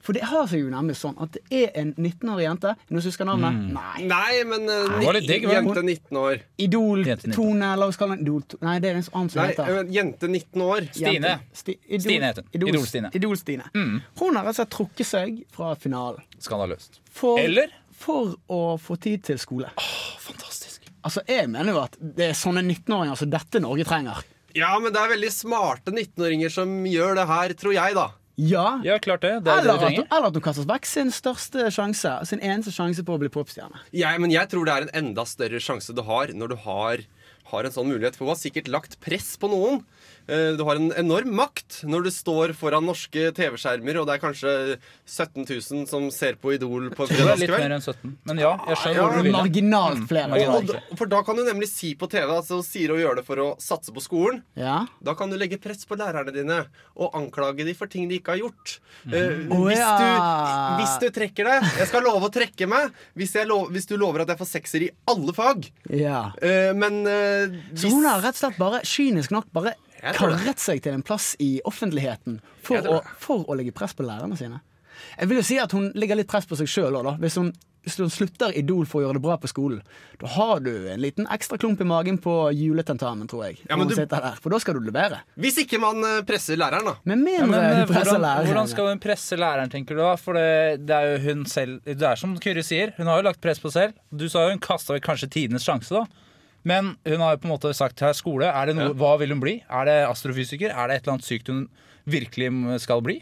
Speaker 2: For det har seg jo nærmest sånn at det er en 19-årig jente Noen som husker navnet?
Speaker 5: Mm.
Speaker 2: Nei.
Speaker 4: Nei, men eh,
Speaker 5: Det var litt digg, var det?
Speaker 4: jente 19 år.
Speaker 5: Jente nitten.
Speaker 2: Idol-tone, la oss kalle den Idol Nei, det er en annen som
Speaker 4: Nei,
Speaker 2: heter
Speaker 4: men jente 19 år.
Speaker 5: Stine.
Speaker 2: Jente. Sti Idol,
Speaker 5: Stine Mm. heter hun. Idol-Stine.
Speaker 2: Idol-Stine. Hun har rett og slett trukket seg fra finalen.
Speaker 5: Skandaløst.
Speaker 2: For,
Speaker 5: Eller?
Speaker 2: For å få tid til skole.
Speaker 5: Fantastisk.
Speaker 2: Altså, Jeg mener jo at det er sånne 19-åringer som dette Norge trenger.
Speaker 4: Ja, men det er veldig smarte 19-åringer som gjør det her, tror jeg, da.
Speaker 2: Ja.
Speaker 5: Ja, klart det. Det er det
Speaker 2: Eller
Speaker 5: du
Speaker 2: at, hun,
Speaker 5: trenger.
Speaker 2: eller at hun kastes vekk sin største sjanse. Sin eneste sjanse på å bli popstjerne.
Speaker 4: Jeg, men jeg tror det er en enda større sjanse du har når du har, har en sånn mulighet. For hun har sikkert lagt press på noen. Eh, Du har en enorm makt når du står foran norske TV-skjermer, og det er kanskje 17 000 som ser på Idol på
Speaker 5: Det er litt mer
Speaker 4: fredagskveld.
Speaker 5: enn 17. Men ja, jeg skjønner hvor du vil. hen.
Speaker 2: Marginalt flere.
Speaker 4: Og, og, da- for da kan du nemlig si på TV altså hun sier hun gjør det for å satse på skolen.
Speaker 2: Ja.
Speaker 4: Da kan du legge press på lærerne dine og anklage dem for ting de ikke har gjort.
Speaker 5: Mhm.
Speaker 4: Eh,
Speaker 2: Å,
Speaker 4: hvis,
Speaker 2: ja.
Speaker 4: du, hvis du trekker deg Jeg skal love å trekke meg hvis, jeg lov, hvis du lover at jeg får sekser i alle fag.
Speaker 2: ja.
Speaker 4: Eh, men eh,
Speaker 2: Så
Speaker 4: hvis
Speaker 2: hun har rett og slett bare kynisk nok bare
Speaker 4: Jeg tror det.
Speaker 2: karret seg til en plass i offentligheten
Speaker 4: Jeg
Speaker 2: for å,
Speaker 4: tror
Speaker 2: for å legge press på lærerne sine. Jeg vil jo si at hun legger litt press på seg sjøl òg, da. Hvis hun, hvis hun slutter Idol for å gjøre det bra på skolen, da har du en liten ekstra klump i magen på juletentamen, tror jeg.
Speaker 4: Ja,
Speaker 2: når
Speaker 4: men
Speaker 2: hun
Speaker 4: du-
Speaker 2: sitter der, For da skal du levere.
Speaker 4: Hvis ikke man eh, presser læreren, da.
Speaker 2: Med
Speaker 5: Ja,
Speaker 2: mindre
Speaker 5: men eh,
Speaker 2: du presser
Speaker 5: hvordan,
Speaker 2: lærerne.
Speaker 5: hvordan skal hun presse læreren, tenker du da? For det, det er jo hun selv Det er som Kyrre sier, hun har jo lagt press på selv. Du sa jo hun kasta kanskje tidenes sjanse, da. Men hun har jo på en måte sagt her skole. Er det noe, Hva vil hun bli? Er det astrofysiker? Er det et eller annet sykt hun virkelig skal bli?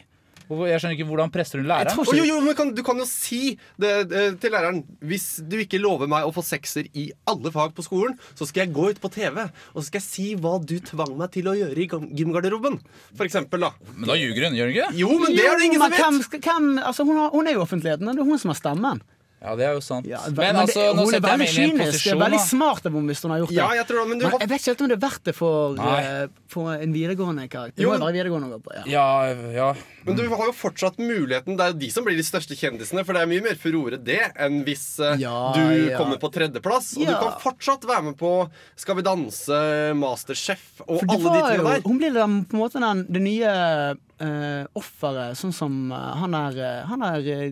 Speaker 5: Og Jeg skjønner ikke hvordan presser hun
Speaker 2: Jeg
Speaker 5: læreren.
Speaker 2: tror
Speaker 4: Å,
Speaker 2: ikke
Speaker 4: jo, jo, men kan, Du kan jo si det eh, til læreren. Hvis du ikke lover meg å få sekser i alle fag på skolen, så skal jeg gå ut på TV og så skal jeg si hva du tvang meg til å gjøre i gym- gymgarderoben. For eksempel, da.
Speaker 5: Men da ljuger hun, gjør hun ikke det?
Speaker 4: Jo, men det er det ingen
Speaker 2: men
Speaker 4: som vet!
Speaker 2: hvem skal- hvem- altså, hun, har, hun er jo i offentligheten, og det er hun som har stemmen.
Speaker 5: Ja, det er jo sant.
Speaker 2: Ja,
Speaker 5: men, altså,
Speaker 2: det-
Speaker 5: nå
Speaker 2: hun er
Speaker 5: setter
Speaker 2: veldig
Speaker 5: jeg meg inn i en
Speaker 2: kynisk. Det er
Speaker 5: posisjon,
Speaker 2: veldig
Speaker 5: da.
Speaker 2: smart av henne hvis hun har gjort det.
Speaker 4: Ja, jeg tror det, men du har-
Speaker 2: jeg vet ikke helt om det er verdt det for,
Speaker 5: Nei.
Speaker 2: eh, for en videregående karakter. Det
Speaker 4: Jo,
Speaker 2: må jo
Speaker 4: men-
Speaker 2: være videregående å gå på, ja.
Speaker 5: Ja, ja.
Speaker 4: Men du har jo fortsatt muligheten. Det er jo de som blir de største kjendisene. For det er mye mer furore det enn hvis eh,
Speaker 2: Ja,
Speaker 4: du
Speaker 2: ja.
Speaker 4: kommer på tredjeplass. Og
Speaker 2: Ja.
Speaker 4: du kan fortsatt være med på Skal vi danse, Masterchef og
Speaker 2: For det
Speaker 4: alle de
Speaker 2: var
Speaker 4: tingene
Speaker 2: jo-
Speaker 4: der.
Speaker 2: Hun blir den, på en måte den, det nye eh, offeret, sånn som eh, han er, eh, han er eh,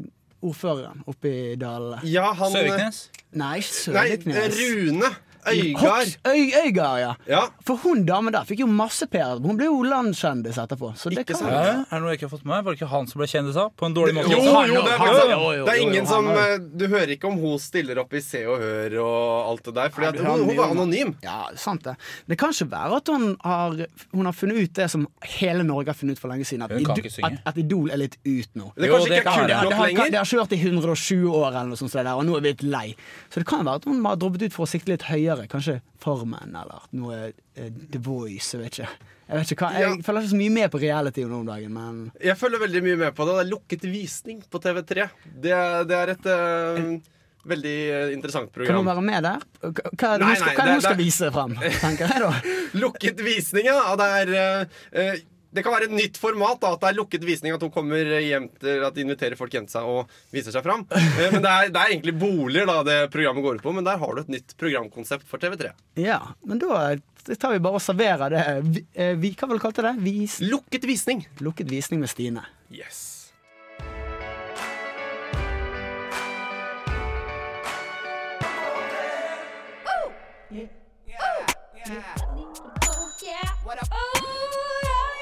Speaker 2: ordføreren oppe i dalene.
Speaker 4: Ja, han eh,
Speaker 5: Søviknes?
Speaker 2: Nei, ikke
Speaker 4: Nei,
Speaker 2: Søviknes.
Speaker 4: Rune Øygard.
Speaker 2: Hoks- Øy, Øygard, ja.
Speaker 4: Ja.
Speaker 2: For hun damen der fikk jo masse PR. Hun ble jo landkjendis etterpå. Så det
Speaker 4: Ikke
Speaker 2: kan
Speaker 4: sant?
Speaker 5: Ja, er det noe jeg ikke har fått med meg? Var det ikke han som ble kjendis av? På en dårlig måte?
Speaker 4: Jo,
Speaker 5: Han-
Speaker 4: jo, det er,
Speaker 5: han-
Speaker 4: masse-
Speaker 5: jo, jo,
Speaker 4: det er
Speaker 5: jo,
Speaker 4: ingen
Speaker 5: jo,
Speaker 4: som
Speaker 5: han er-
Speaker 4: eh, Du hører ikke om hun stiller opp i Se og Hør og alt det der. For
Speaker 2: Nei,
Speaker 4: hun, hun var anonym.
Speaker 2: Ja, sant det. Det kan ikke være at hun har, hun har funnet ut det som hele Norge har funnet ut for lenge siden. At,
Speaker 5: Hun kan
Speaker 2: Idol-
Speaker 5: ikke synge.
Speaker 2: at, at Idol er litt ut nå.
Speaker 4: Det
Speaker 5: Jo,
Speaker 4: kanskje
Speaker 5: det
Speaker 4: ikke
Speaker 5: kan være.
Speaker 4: er kult
Speaker 2: det,
Speaker 4: nok
Speaker 2: har, det
Speaker 4: lenger.
Speaker 2: har kjørt i 120 år, eller noe sånt, som det der, og nå er vi litt lei. Så det kan være at hun har droppet ut for å sikte litt høyere. Kanskje Farmen eller noe eh, The Voice. Jeg vet ikke. Jeg, vet ikke hva. jeg
Speaker 4: Ja.
Speaker 2: følger ikke så mye med på reality nå om dagen, men
Speaker 4: Jeg følger veldig mye med på det. Det er lukket visning på TV3. Det, det er et eh, veldig eh, interessant
Speaker 2: kan hun
Speaker 4: program.
Speaker 2: være med der? Hva hva er det
Speaker 4: Nei,
Speaker 2: hun skal, hva
Speaker 4: nei,
Speaker 2: er det
Speaker 4: det-
Speaker 2: hun skal
Speaker 4: det-
Speaker 2: vise frem, tenker jeg da?
Speaker 4: Lukket visning, ja. og Det er eh, eh, det kan være et nytt format. da, At det er lukket visning At hun kommer hjem til At de inviterer folk hjem til seg og viser seg fram. Eh, Men det er, det er egentlig boliger da det programmet går ut på, men der har du et nytt programkonsept for TV3.
Speaker 2: Ja, men da tar vi bare og serverer det. Vi, eh, vi, hva var det du kalte det? Vis,
Speaker 4: Lukket visning.
Speaker 2: lukket visning med Stine.
Speaker 4: Yes.
Speaker 7: Oh, yeah. Oh, ja,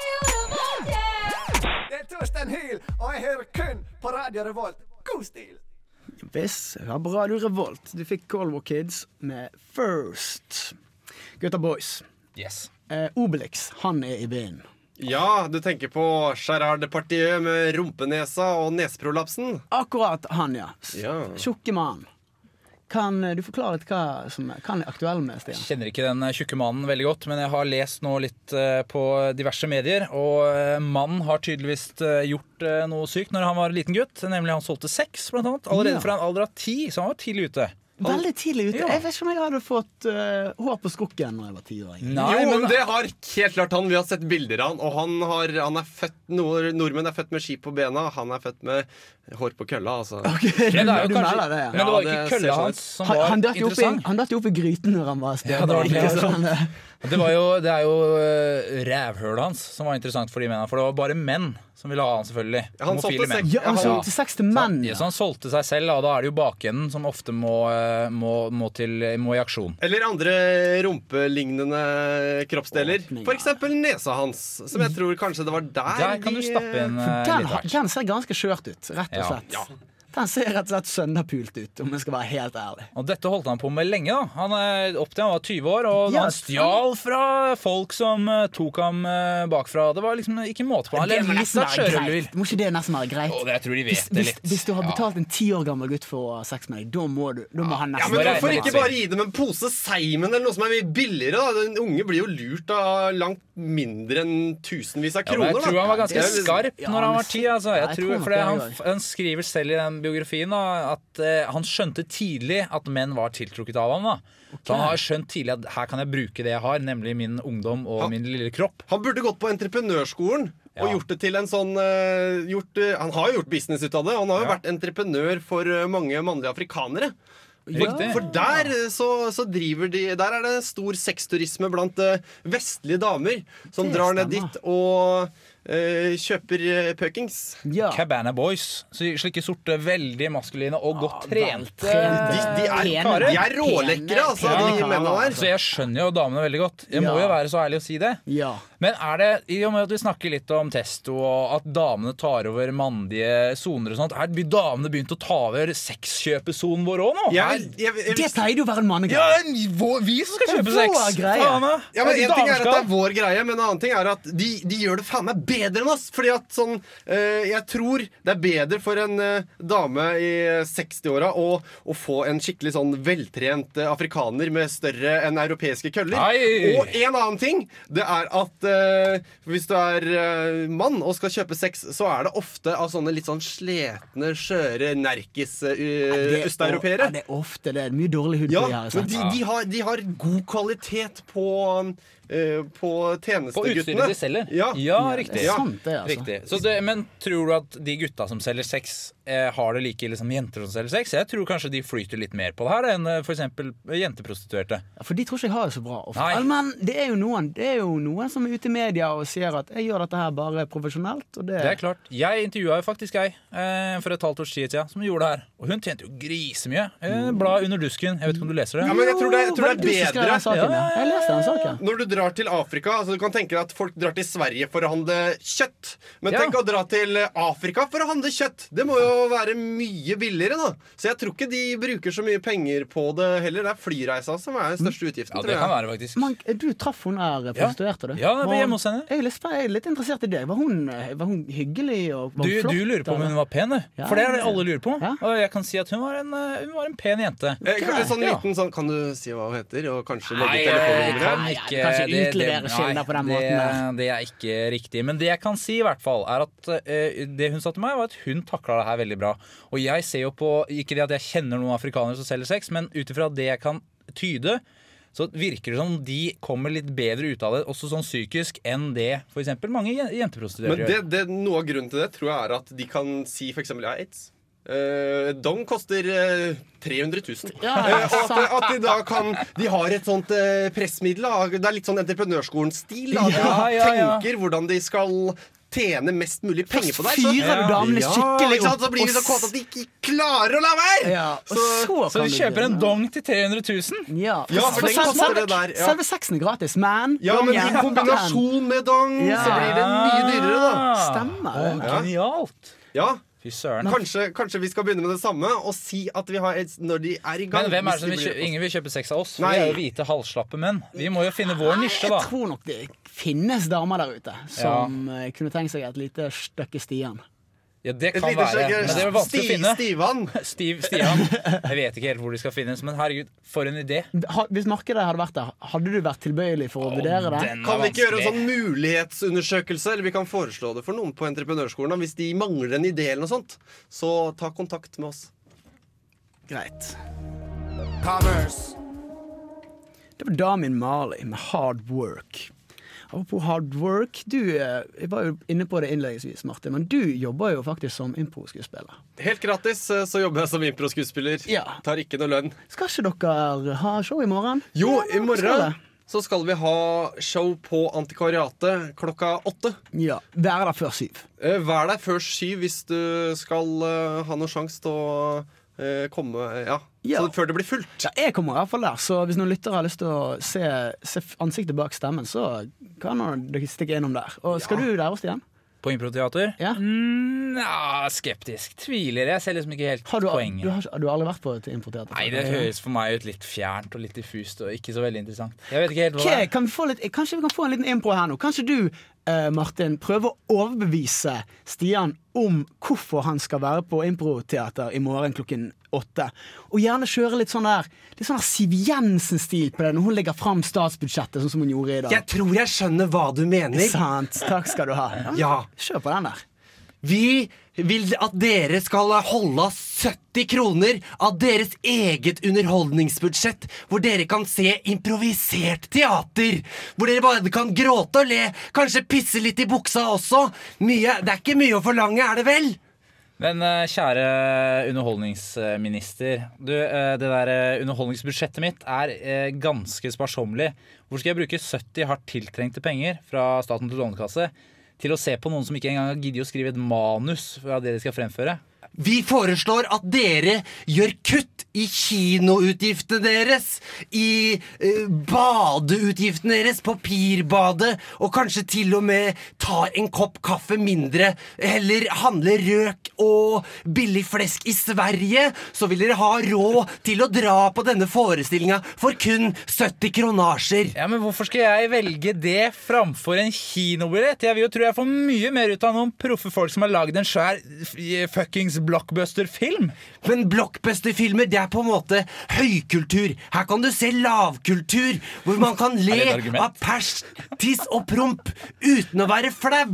Speaker 7: jo, det var det.
Speaker 8: Det er Torstein Hyl, og jeg hører kun på Radio Revolt. God stil!
Speaker 2: Hvis hør på Radio Revolt. Du fikk Cold War Kids med First. Gutta boys.
Speaker 5: Yes.
Speaker 2: Eh, Obelix, han er i byen.
Speaker 4: Ja, du tenker på Gerard Departieu med rumpenesa og neseprolapsen?
Speaker 2: Akkurat han, ja. S-
Speaker 4: Ja.
Speaker 2: Tjukke mann. Kan eh, du forklare litt hva som er, hva han er aktuell med, Stian?
Speaker 5: Kjenner ikke den eh, tjukke mannen veldig godt, men jeg har lest nå litt eh, på diverse medier, og eh, mannen har tydeligvis eh, gjort eh, noe sykt når han var liten gutt, nemlig han solgte sex, blant annet, allerede
Speaker 2: Ja.
Speaker 5: fra en alder av ti, så han var tidlig ute.
Speaker 2: Veldig tidlig ute.
Speaker 5: Ja.
Speaker 2: Jeg vet ikke om jeg hadde fått eh, hår på skrukken da jeg var tiåring.
Speaker 5: Nei,
Speaker 4: jo,
Speaker 5: men
Speaker 4: det har helt klart han. Vi har sett bilder av han, og han, har, han er født nord, Nordmenn er født med ski på bena, han er født med hår på kølla, altså.
Speaker 5: Men det, er
Speaker 2: du
Speaker 5: jo kanskje,
Speaker 2: melder det, ja.
Speaker 5: men det var
Speaker 4: Ja,
Speaker 5: ikke
Speaker 4: det ser
Speaker 5: kølla
Speaker 4: sånn
Speaker 5: hans
Speaker 4: ut.
Speaker 5: som
Speaker 2: Han,
Speaker 5: var
Speaker 2: han datt jo opp i-
Speaker 5: interessant.
Speaker 2: han datt jo opp i gryten når han var
Speaker 5: Ja, det var det.
Speaker 2: spennende.
Speaker 5: Det, var jo, det er jo eh, rævhølet hans som var interessant for de mennene. For det var bare menn som ville ha han, selvfølgelig.
Speaker 4: Han solgte
Speaker 5: Homofile menn.
Speaker 4: seg-
Speaker 2: Ja, han
Speaker 4: Ja, ja.
Speaker 2: solgte sex til menn.
Speaker 5: Ja, så han solgte seg selv, og da er det jo bakenden som ofte må, eh, må, må, til, må i aksjon.
Speaker 4: Eller andre rumpelignende kroppsdeler.
Speaker 2: Åpninger.
Speaker 4: For eksempel nesa hans, som jeg tror kanskje det var der
Speaker 5: Der kan du
Speaker 4: de,
Speaker 5: stappe inn
Speaker 2: Den,
Speaker 5: eh, litt
Speaker 2: har-
Speaker 5: hardt.
Speaker 2: den ser ganske skjørt ut, rett og
Speaker 5: Ja.
Speaker 2: slett. Den ser rett og slett sønderpult ut, om jeg skal være helt ærlig.
Speaker 5: Og dette holdt han på med lenge. da Han eh, Opp til han var 20 år, og
Speaker 2: Ja,
Speaker 5: han stjal fra folk som eh, tok ham eh, bakfra. Det var liksom ikke måte på. Han
Speaker 2: Det må
Speaker 5: lever
Speaker 2: nesten
Speaker 5: nesten av
Speaker 2: være
Speaker 5: sjørøver.
Speaker 2: greit. Må ikke det nesten være greit?
Speaker 5: Og jeg tror de
Speaker 2: Hvis,
Speaker 5: vet det
Speaker 2: hvis,
Speaker 5: litt.
Speaker 2: hvis du har
Speaker 5: Ja.
Speaker 2: betalt en ti år gammel gutt for å ha sex med deg, da må, du, da må han
Speaker 4: Ja,
Speaker 2: nesten
Speaker 4: men
Speaker 5: Nå
Speaker 4: Hvorfor
Speaker 5: regner
Speaker 4: ikke
Speaker 5: det.
Speaker 4: bare gi dem en pose Seimen eller noe som er mye billigere? da? Den unge blir jo lurt av langt mindre enn tusenvis av
Speaker 5: Ja, men
Speaker 4: kroner.
Speaker 5: jeg tror han var
Speaker 4: da.
Speaker 5: ganske
Speaker 4: Det er jo- liksom-
Speaker 5: skarp
Speaker 2: Ja,
Speaker 5: når han
Speaker 2: men
Speaker 5: var ti. Altså.
Speaker 2: ja,
Speaker 5: Jeg
Speaker 2: jeg
Speaker 5: tror,
Speaker 2: tror nok
Speaker 5: for
Speaker 2: det
Speaker 5: det,
Speaker 2: er
Speaker 5: han,
Speaker 2: greit.
Speaker 5: han skriver selv i den biografien da, at eh, han skjønte tidlig at menn var tiltrukket av ham. Da. Så han har skjønt tidlig at her kan jeg bruke det jeg har, nemlig min ungdom og
Speaker 4: Han-
Speaker 5: min lille kropp.
Speaker 4: Han burde gått på entreprenørskolen og
Speaker 5: Ja.
Speaker 4: gjort det til en sånn eh, gjort, eh, Han har jo gjort business ut av det. Han har jo
Speaker 5: Ja.
Speaker 4: vært entreprenør for eh, mange mannlige afrikanere. For,
Speaker 5: Riktig.
Speaker 4: for der eh, så, så driver de Der er det stor sexturisme blant eh, vestlige damer som
Speaker 2: Det
Speaker 4: drar ned
Speaker 2: stemmer.
Speaker 4: dit og eh, kjøper uh, puckings.
Speaker 2: ja.
Speaker 5: Cabana Boys. Så Slike sorte, veldig maskuline og godt trente.
Speaker 4: De,
Speaker 2: veltrente.
Speaker 4: de, er,
Speaker 2: Pene,
Speaker 4: de er
Speaker 2: pene,
Speaker 4: rålekre, altså,
Speaker 2: pene
Speaker 4: de
Speaker 2: karer,
Speaker 4: mennene der.
Speaker 5: Så jeg skjønner jo damene veldig godt. Jeg må
Speaker 2: Ja.
Speaker 5: jo være så ærlig å si det.
Speaker 2: Ja.
Speaker 5: Men er det, i og med at vi snakker litt om testo og at damene tar over mannlige soner og sånt, er by- damene begynt å ta over sexkjøpesonen vår òg nå?
Speaker 4: Jeg vil, jeg, vil- jeg,
Speaker 2: Det
Speaker 4: vil-
Speaker 2: pleier jo å være en mannegreie.
Speaker 5: Ja, det er vår- vi som skal kjøpe
Speaker 2: Det er
Speaker 5: sex!
Speaker 2: vår greie.
Speaker 5: Faen, da.
Speaker 4: Ja, men
Speaker 2: Eh,
Speaker 4: En
Speaker 5: Damer
Speaker 4: ting er at det
Speaker 5: skal-
Speaker 4: er vår greie, men en annen ting er at de, de gjør det faen meg bedre enn oss. Fordi at sånn eh, Jeg tror det er bedre for en eh, dame i 60-åra å, å få en skikkelig sånn veltrent eh, afrikaner med større enn europeiske køller.
Speaker 5: Nei.
Speaker 4: Og en annen ting, det er at eh, hvis du er eh, mann og skal kjøpe sex, så er det ofte av sånne litt sånn sletne,
Speaker 2: Det
Speaker 4: skjøre eh,
Speaker 2: er-
Speaker 4: nerkis-østeuropeere.
Speaker 2: Ja, det er ofte det. er Mye dårlig hud på de
Speaker 4: Ja,
Speaker 2: her.
Speaker 4: men
Speaker 2: sant?
Speaker 4: de, de, har, de har god kvalitet på, eh, på
Speaker 5: På utstyret
Speaker 4: tjenesteguttene.
Speaker 5: de selger.
Speaker 4: Ja.
Speaker 5: riktig.
Speaker 2: Det er sant, det, altså.
Speaker 5: Riktig. Så det, men tror du at de gutta som selger sex, eh, har det like ille som jenter som selger sex? Jeg tror kanskje de flyter litt mer på det her enn eh, f.eks. jenteprostituerte.
Speaker 2: Ja, For de tror ikke jeg har det så bra. ofte.
Speaker 5: Nei.
Speaker 2: Eller, Men det er, jo noen, det er jo noen som er ute i media og sier at 'jeg gjør dette her bare profesjonelt'. Og det,
Speaker 5: Det er klart. Jeg intervjua jo faktisk ei eh, for et halvt års tid siden som gjorde det her. Og hun tjente jo grisemye. Eh, Bla under dusken. Jeg vet ikke om du leser det?
Speaker 4: Ja, men jeg tror det, jeg tror
Speaker 2: Var
Speaker 4: det
Speaker 2: du som
Speaker 4: er
Speaker 2: skrev den
Speaker 4: bedre.
Speaker 2: saken, ja? Jeg leste den saken.
Speaker 4: Når du drar til Afrika altså Du kan tenke deg at folk drar til Sverige for å handle kjøtt. Men
Speaker 5: Ja.
Speaker 4: tenk å dra til Afrika for å handle kjøtt! Det må jo være mye billigere, da. Så jeg tror ikke de bruker så mye penger på det heller. Det er flyreisa som er den største utgiften,
Speaker 5: Ja, det kan
Speaker 4: tror jeg.
Speaker 5: være, faktisk.
Speaker 2: Man, du traff hun her prostituerte, du.
Speaker 5: Ja, jeg var
Speaker 2: Var-
Speaker 5: hjemme hos henne.
Speaker 2: Jeg er, litt, jeg er litt interessert i deg. Var hun, var hun hyggelig og var
Speaker 5: Du,
Speaker 2: hun flott?
Speaker 5: du lurer på om
Speaker 2: eller?
Speaker 5: hun var pen, du.
Speaker 2: Ja,
Speaker 5: For det er det
Speaker 2: ja.
Speaker 5: alle lurer på.
Speaker 2: Ja.
Speaker 5: Og jeg kan si at hun var en, eh, hun var en pen jente.
Speaker 4: Eh, kan- en sånn
Speaker 5: Ja.
Speaker 4: liten sånn Kan du si hva hun heter? Og kanskje legge
Speaker 5: Nei, jeg
Speaker 4: telefonnummeret?
Speaker 5: kan
Speaker 2: Nei,
Speaker 5: ikke
Speaker 2: du kan ikke
Speaker 5: det- det-
Speaker 2: utlevere
Speaker 5: nei,
Speaker 2: skylda på den måten der.
Speaker 5: Det, det er ikke riktig. Men det jeg kan si, i hvert fall, er at eh, det hun sa til meg, var at hun takla det her veldig bra. Og jeg ser jo på Ikke det at jeg kjenner noen afrikanere som selger sex, men ut ifra det jeg kan tyde, så virker det som de kommer litt bedre ut av det, også sånn psykisk, enn det f.eks. mange jen-
Speaker 4: Men
Speaker 5: jenteprostituerte
Speaker 4: det,
Speaker 5: gjør.
Speaker 4: det, noe av grunnen til det tror jeg er at de kan si f.eks. jeg har aids. Eh, dong koster eh, 300 000.
Speaker 2: Ja,
Speaker 4: Eh, og at,
Speaker 2: sant.
Speaker 4: at de da kan De har et sånt eh, pressmiddel. da. Det er litt sånn entreprenørskolen-stil. da. De
Speaker 5: Ja, ja, ja.
Speaker 4: tenker hvordan de skal tjene mest mulig penger på deg.
Speaker 2: Først fyrer du
Speaker 5: Ja.
Speaker 2: damene skikkelig
Speaker 4: ikke sant? Så blir de så
Speaker 2: og
Speaker 4: kåte at de ikke klarer å la være!
Speaker 2: Ja, og så,
Speaker 5: Så
Speaker 2: kan
Speaker 5: de kjøper en
Speaker 2: begynne.
Speaker 5: dong til 300 000?
Speaker 2: Ja,
Speaker 4: Ja, for den
Speaker 2: selve-
Speaker 4: koster
Speaker 2: selve-
Speaker 4: det der, ja.
Speaker 2: Selve sexen er gratis, men
Speaker 4: Ja, men i
Speaker 2: dongen-
Speaker 4: kombinasjon med dong
Speaker 2: Ja.
Speaker 4: så blir det mye dyrere, da.
Speaker 2: Stemmer.
Speaker 5: Å, Genialt.
Speaker 4: Ja,
Speaker 5: Fy søren.
Speaker 4: kanskje, kanskje vi skal begynne med det samme og si at vi har aids når de er i gang.
Speaker 5: Men hvem er
Speaker 4: hvis
Speaker 5: det som
Speaker 4: de
Speaker 5: vil
Speaker 4: blir-
Speaker 5: kjøpe, ingen vil kjøpe sex av oss?
Speaker 4: Nei.
Speaker 5: Vi er jo hvite, halvslappe menn. Vi må jo finne vår nisje, da.
Speaker 2: Jeg tror nok det finnes damer der ute som eh, kunne tenkt seg et lite stykke stian.
Speaker 5: Ja, det
Speaker 4: Et
Speaker 5: kan
Speaker 4: lite
Speaker 5: være. Men det er jo vanskelig å
Speaker 4: sti-
Speaker 5: finne.
Speaker 4: Stivan.
Speaker 5: Stiv Stian. Jeg vet ikke helt hvor de skal finnes, men herregud, for en idé.
Speaker 2: Ha, hvis markedet hadde vært der, hadde du vært tilbøyelig for å vurdere det?
Speaker 5: den er
Speaker 4: Kan vi ikke gjøre en sånn
Speaker 5: vanskelig.
Speaker 4: mulighetsundersøkelse? Eller vi kan foreslå det for noen på entreprenørskolen. da. Hvis de mangler en idé, eller noe sånt, så ta kontakt med oss.
Speaker 2: Greit.
Speaker 8: Commerce.
Speaker 2: Det var Damin Mali med Hard Work. Apropos hard work, du eh, jeg var jo inne på det innledningsvis, Martin, men du jobber jo faktisk som impro-skuespiller.
Speaker 4: Helt gratis eh, så jobber jeg som improskuespiller.
Speaker 2: Ja.
Speaker 4: Tar ikke noe lønn.
Speaker 2: Skal ikke dere ha show i morgen?
Speaker 4: Jo, i
Speaker 2: Skal det?
Speaker 4: morgen så skal vi ha show på Antikvariatet klokka åtte.
Speaker 2: Ja, Være der før syv.
Speaker 4: Eh, Vær der før syv hvis du skal eh, ha noen sjanse til å eh, komme ja.
Speaker 2: Ja.
Speaker 4: Så før det blir fullt.
Speaker 2: Ja, jeg kommer i hvert fall der, så hvis noen lyttere har lyst til å se, se f- ansiktet bak stemmen, så kan nå dere stikke innom der. Og skal du der også, Stian?
Speaker 4: sånn-
Speaker 5: På improteater?
Speaker 2: Ja.
Speaker 5: Mm, ja, skeptisk. Tviler. Jeg ser liksom ikke helt
Speaker 2: Har du,
Speaker 5: poenget.
Speaker 2: du, har, du har aldri vært på et importert
Speaker 5: Nei, det høres for meg ut litt fjernt og litt diffust og ikke så veldig interessant. Jeg vet ikke helt hva
Speaker 2: Ok,
Speaker 5: det er.
Speaker 2: kan vi få litt, Kanskje vi kan få en liten impro her nå? Kanskje du, eh, Martin, prøver å overbevise Stian om hvorfor han skal være på improteater i morgen klokken åtte. Og gjerne kjøre litt sånn der Litt sånn der Siv Jensen-stil på det når hun legger fram statsbudsjettet, sånn som hun gjorde i dag.
Speaker 4: tror jeg skjønner hva du mener.
Speaker 2: Sant. Takk skal du ha.
Speaker 4: Ja.
Speaker 2: Kjør på den der.
Speaker 4: Vi vil at dere skal holde av 70 kroner av deres eget underholdningsbudsjett, hvor dere kan se improvisert teater. Hvor dere bare kan gråte og le, kanskje pisse litt i buksa også. Mye, det er ikke mye å forlange, er det vel?
Speaker 5: Men eh, kjære underholdningsminister. Du, eh, det der eh, underholdningsbudsjettet mitt er eh, ganske sparsommelig. Hvor skal jeg bruke 70 hardt tiltrengte penger fra staten til Lånekasse til å se på noen som ikke engang har giddet å skrive et manus fra det de skal fremføre?
Speaker 4: Vi foreslår at dere gjør kutt i kinoutgiftene deres, i eh, badeutgiftene deres, på pirbadet, og kanskje til og med tar en kopp kaffe mindre. Heller handler røk og billig flesk i Sverige, så vil dere ha råd til å dra på denne forestillinga for kun 70 kronasjer.
Speaker 5: Ja, men Hvorfor skal jeg velge det framfor en kinobillett? Jeg vil jo tro jeg får mye mer ut av noen proffe folk som har lagd en svær f- fuckings blockbuster-film.
Speaker 4: Men blockbusterfilmer det er på en måte høykultur. Her kan du se lavkultur, hvor man kan
Speaker 5: Er det
Speaker 4: le
Speaker 5: et argument?
Speaker 4: av pers, tiss og promp uten å være flau.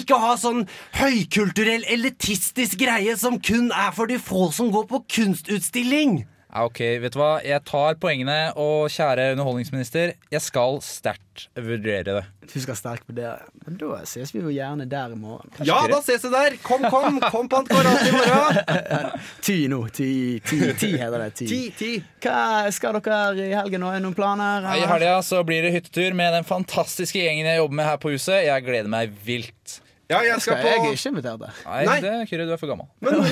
Speaker 4: Ikke ha sånn høykulturell elitistisk greie som kun er for de få som går på kunstutstilling.
Speaker 5: Ja, ok, vet du hva? Jeg tar poengene, og kjære underholdningsminister, jeg skal sterkt vurdere det.
Speaker 2: Du skal sterkt på det. Men da ses vi jo gjerne der i morgen.
Speaker 4: Ja, da ses vi der. Kom, kom. Kom på Antikvariatet i morgen.
Speaker 2: Ti nå. Ti, ti, ti heter det. Ti.
Speaker 4: ti.
Speaker 2: Hva skal dere i helgen? nå? Er det noen planer?
Speaker 5: I helga så blir det hyttetur med den fantastiske gjengen jeg jobber med her på huset. Jeg gleder meg vilt.
Speaker 4: Ja, jeg
Speaker 2: skal jeg er ikke invitert der.
Speaker 5: Nei,
Speaker 4: Nei.
Speaker 5: det Kyrre, du er for gammel.
Speaker 4: Men,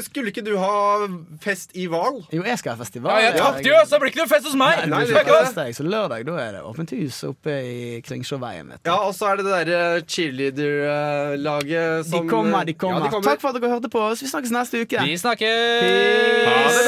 Speaker 4: skulle ikke du ha fest i Hval?
Speaker 2: Jo, jeg skal ha festival.
Speaker 5: Ja, jeg tapte jo, så det blir ikke noe fest hos meg!
Speaker 2: Nei, det
Speaker 4: det
Speaker 2: blir
Speaker 4: er
Speaker 2: ikke
Speaker 4: ikke
Speaker 2: tirsdag, så lørdag da er det åpent hus oppe i Kringsjåveien. vet du.
Speaker 4: Ja, og så er det eh, det derre cheerleader-laget
Speaker 2: De kommer, de kommer.
Speaker 4: eh, Ja, de kommer.
Speaker 2: Takk for at dere hørte på oss. Vi snakkes neste uke.
Speaker 5: Vi snakkes!
Speaker 2: Ha det bra!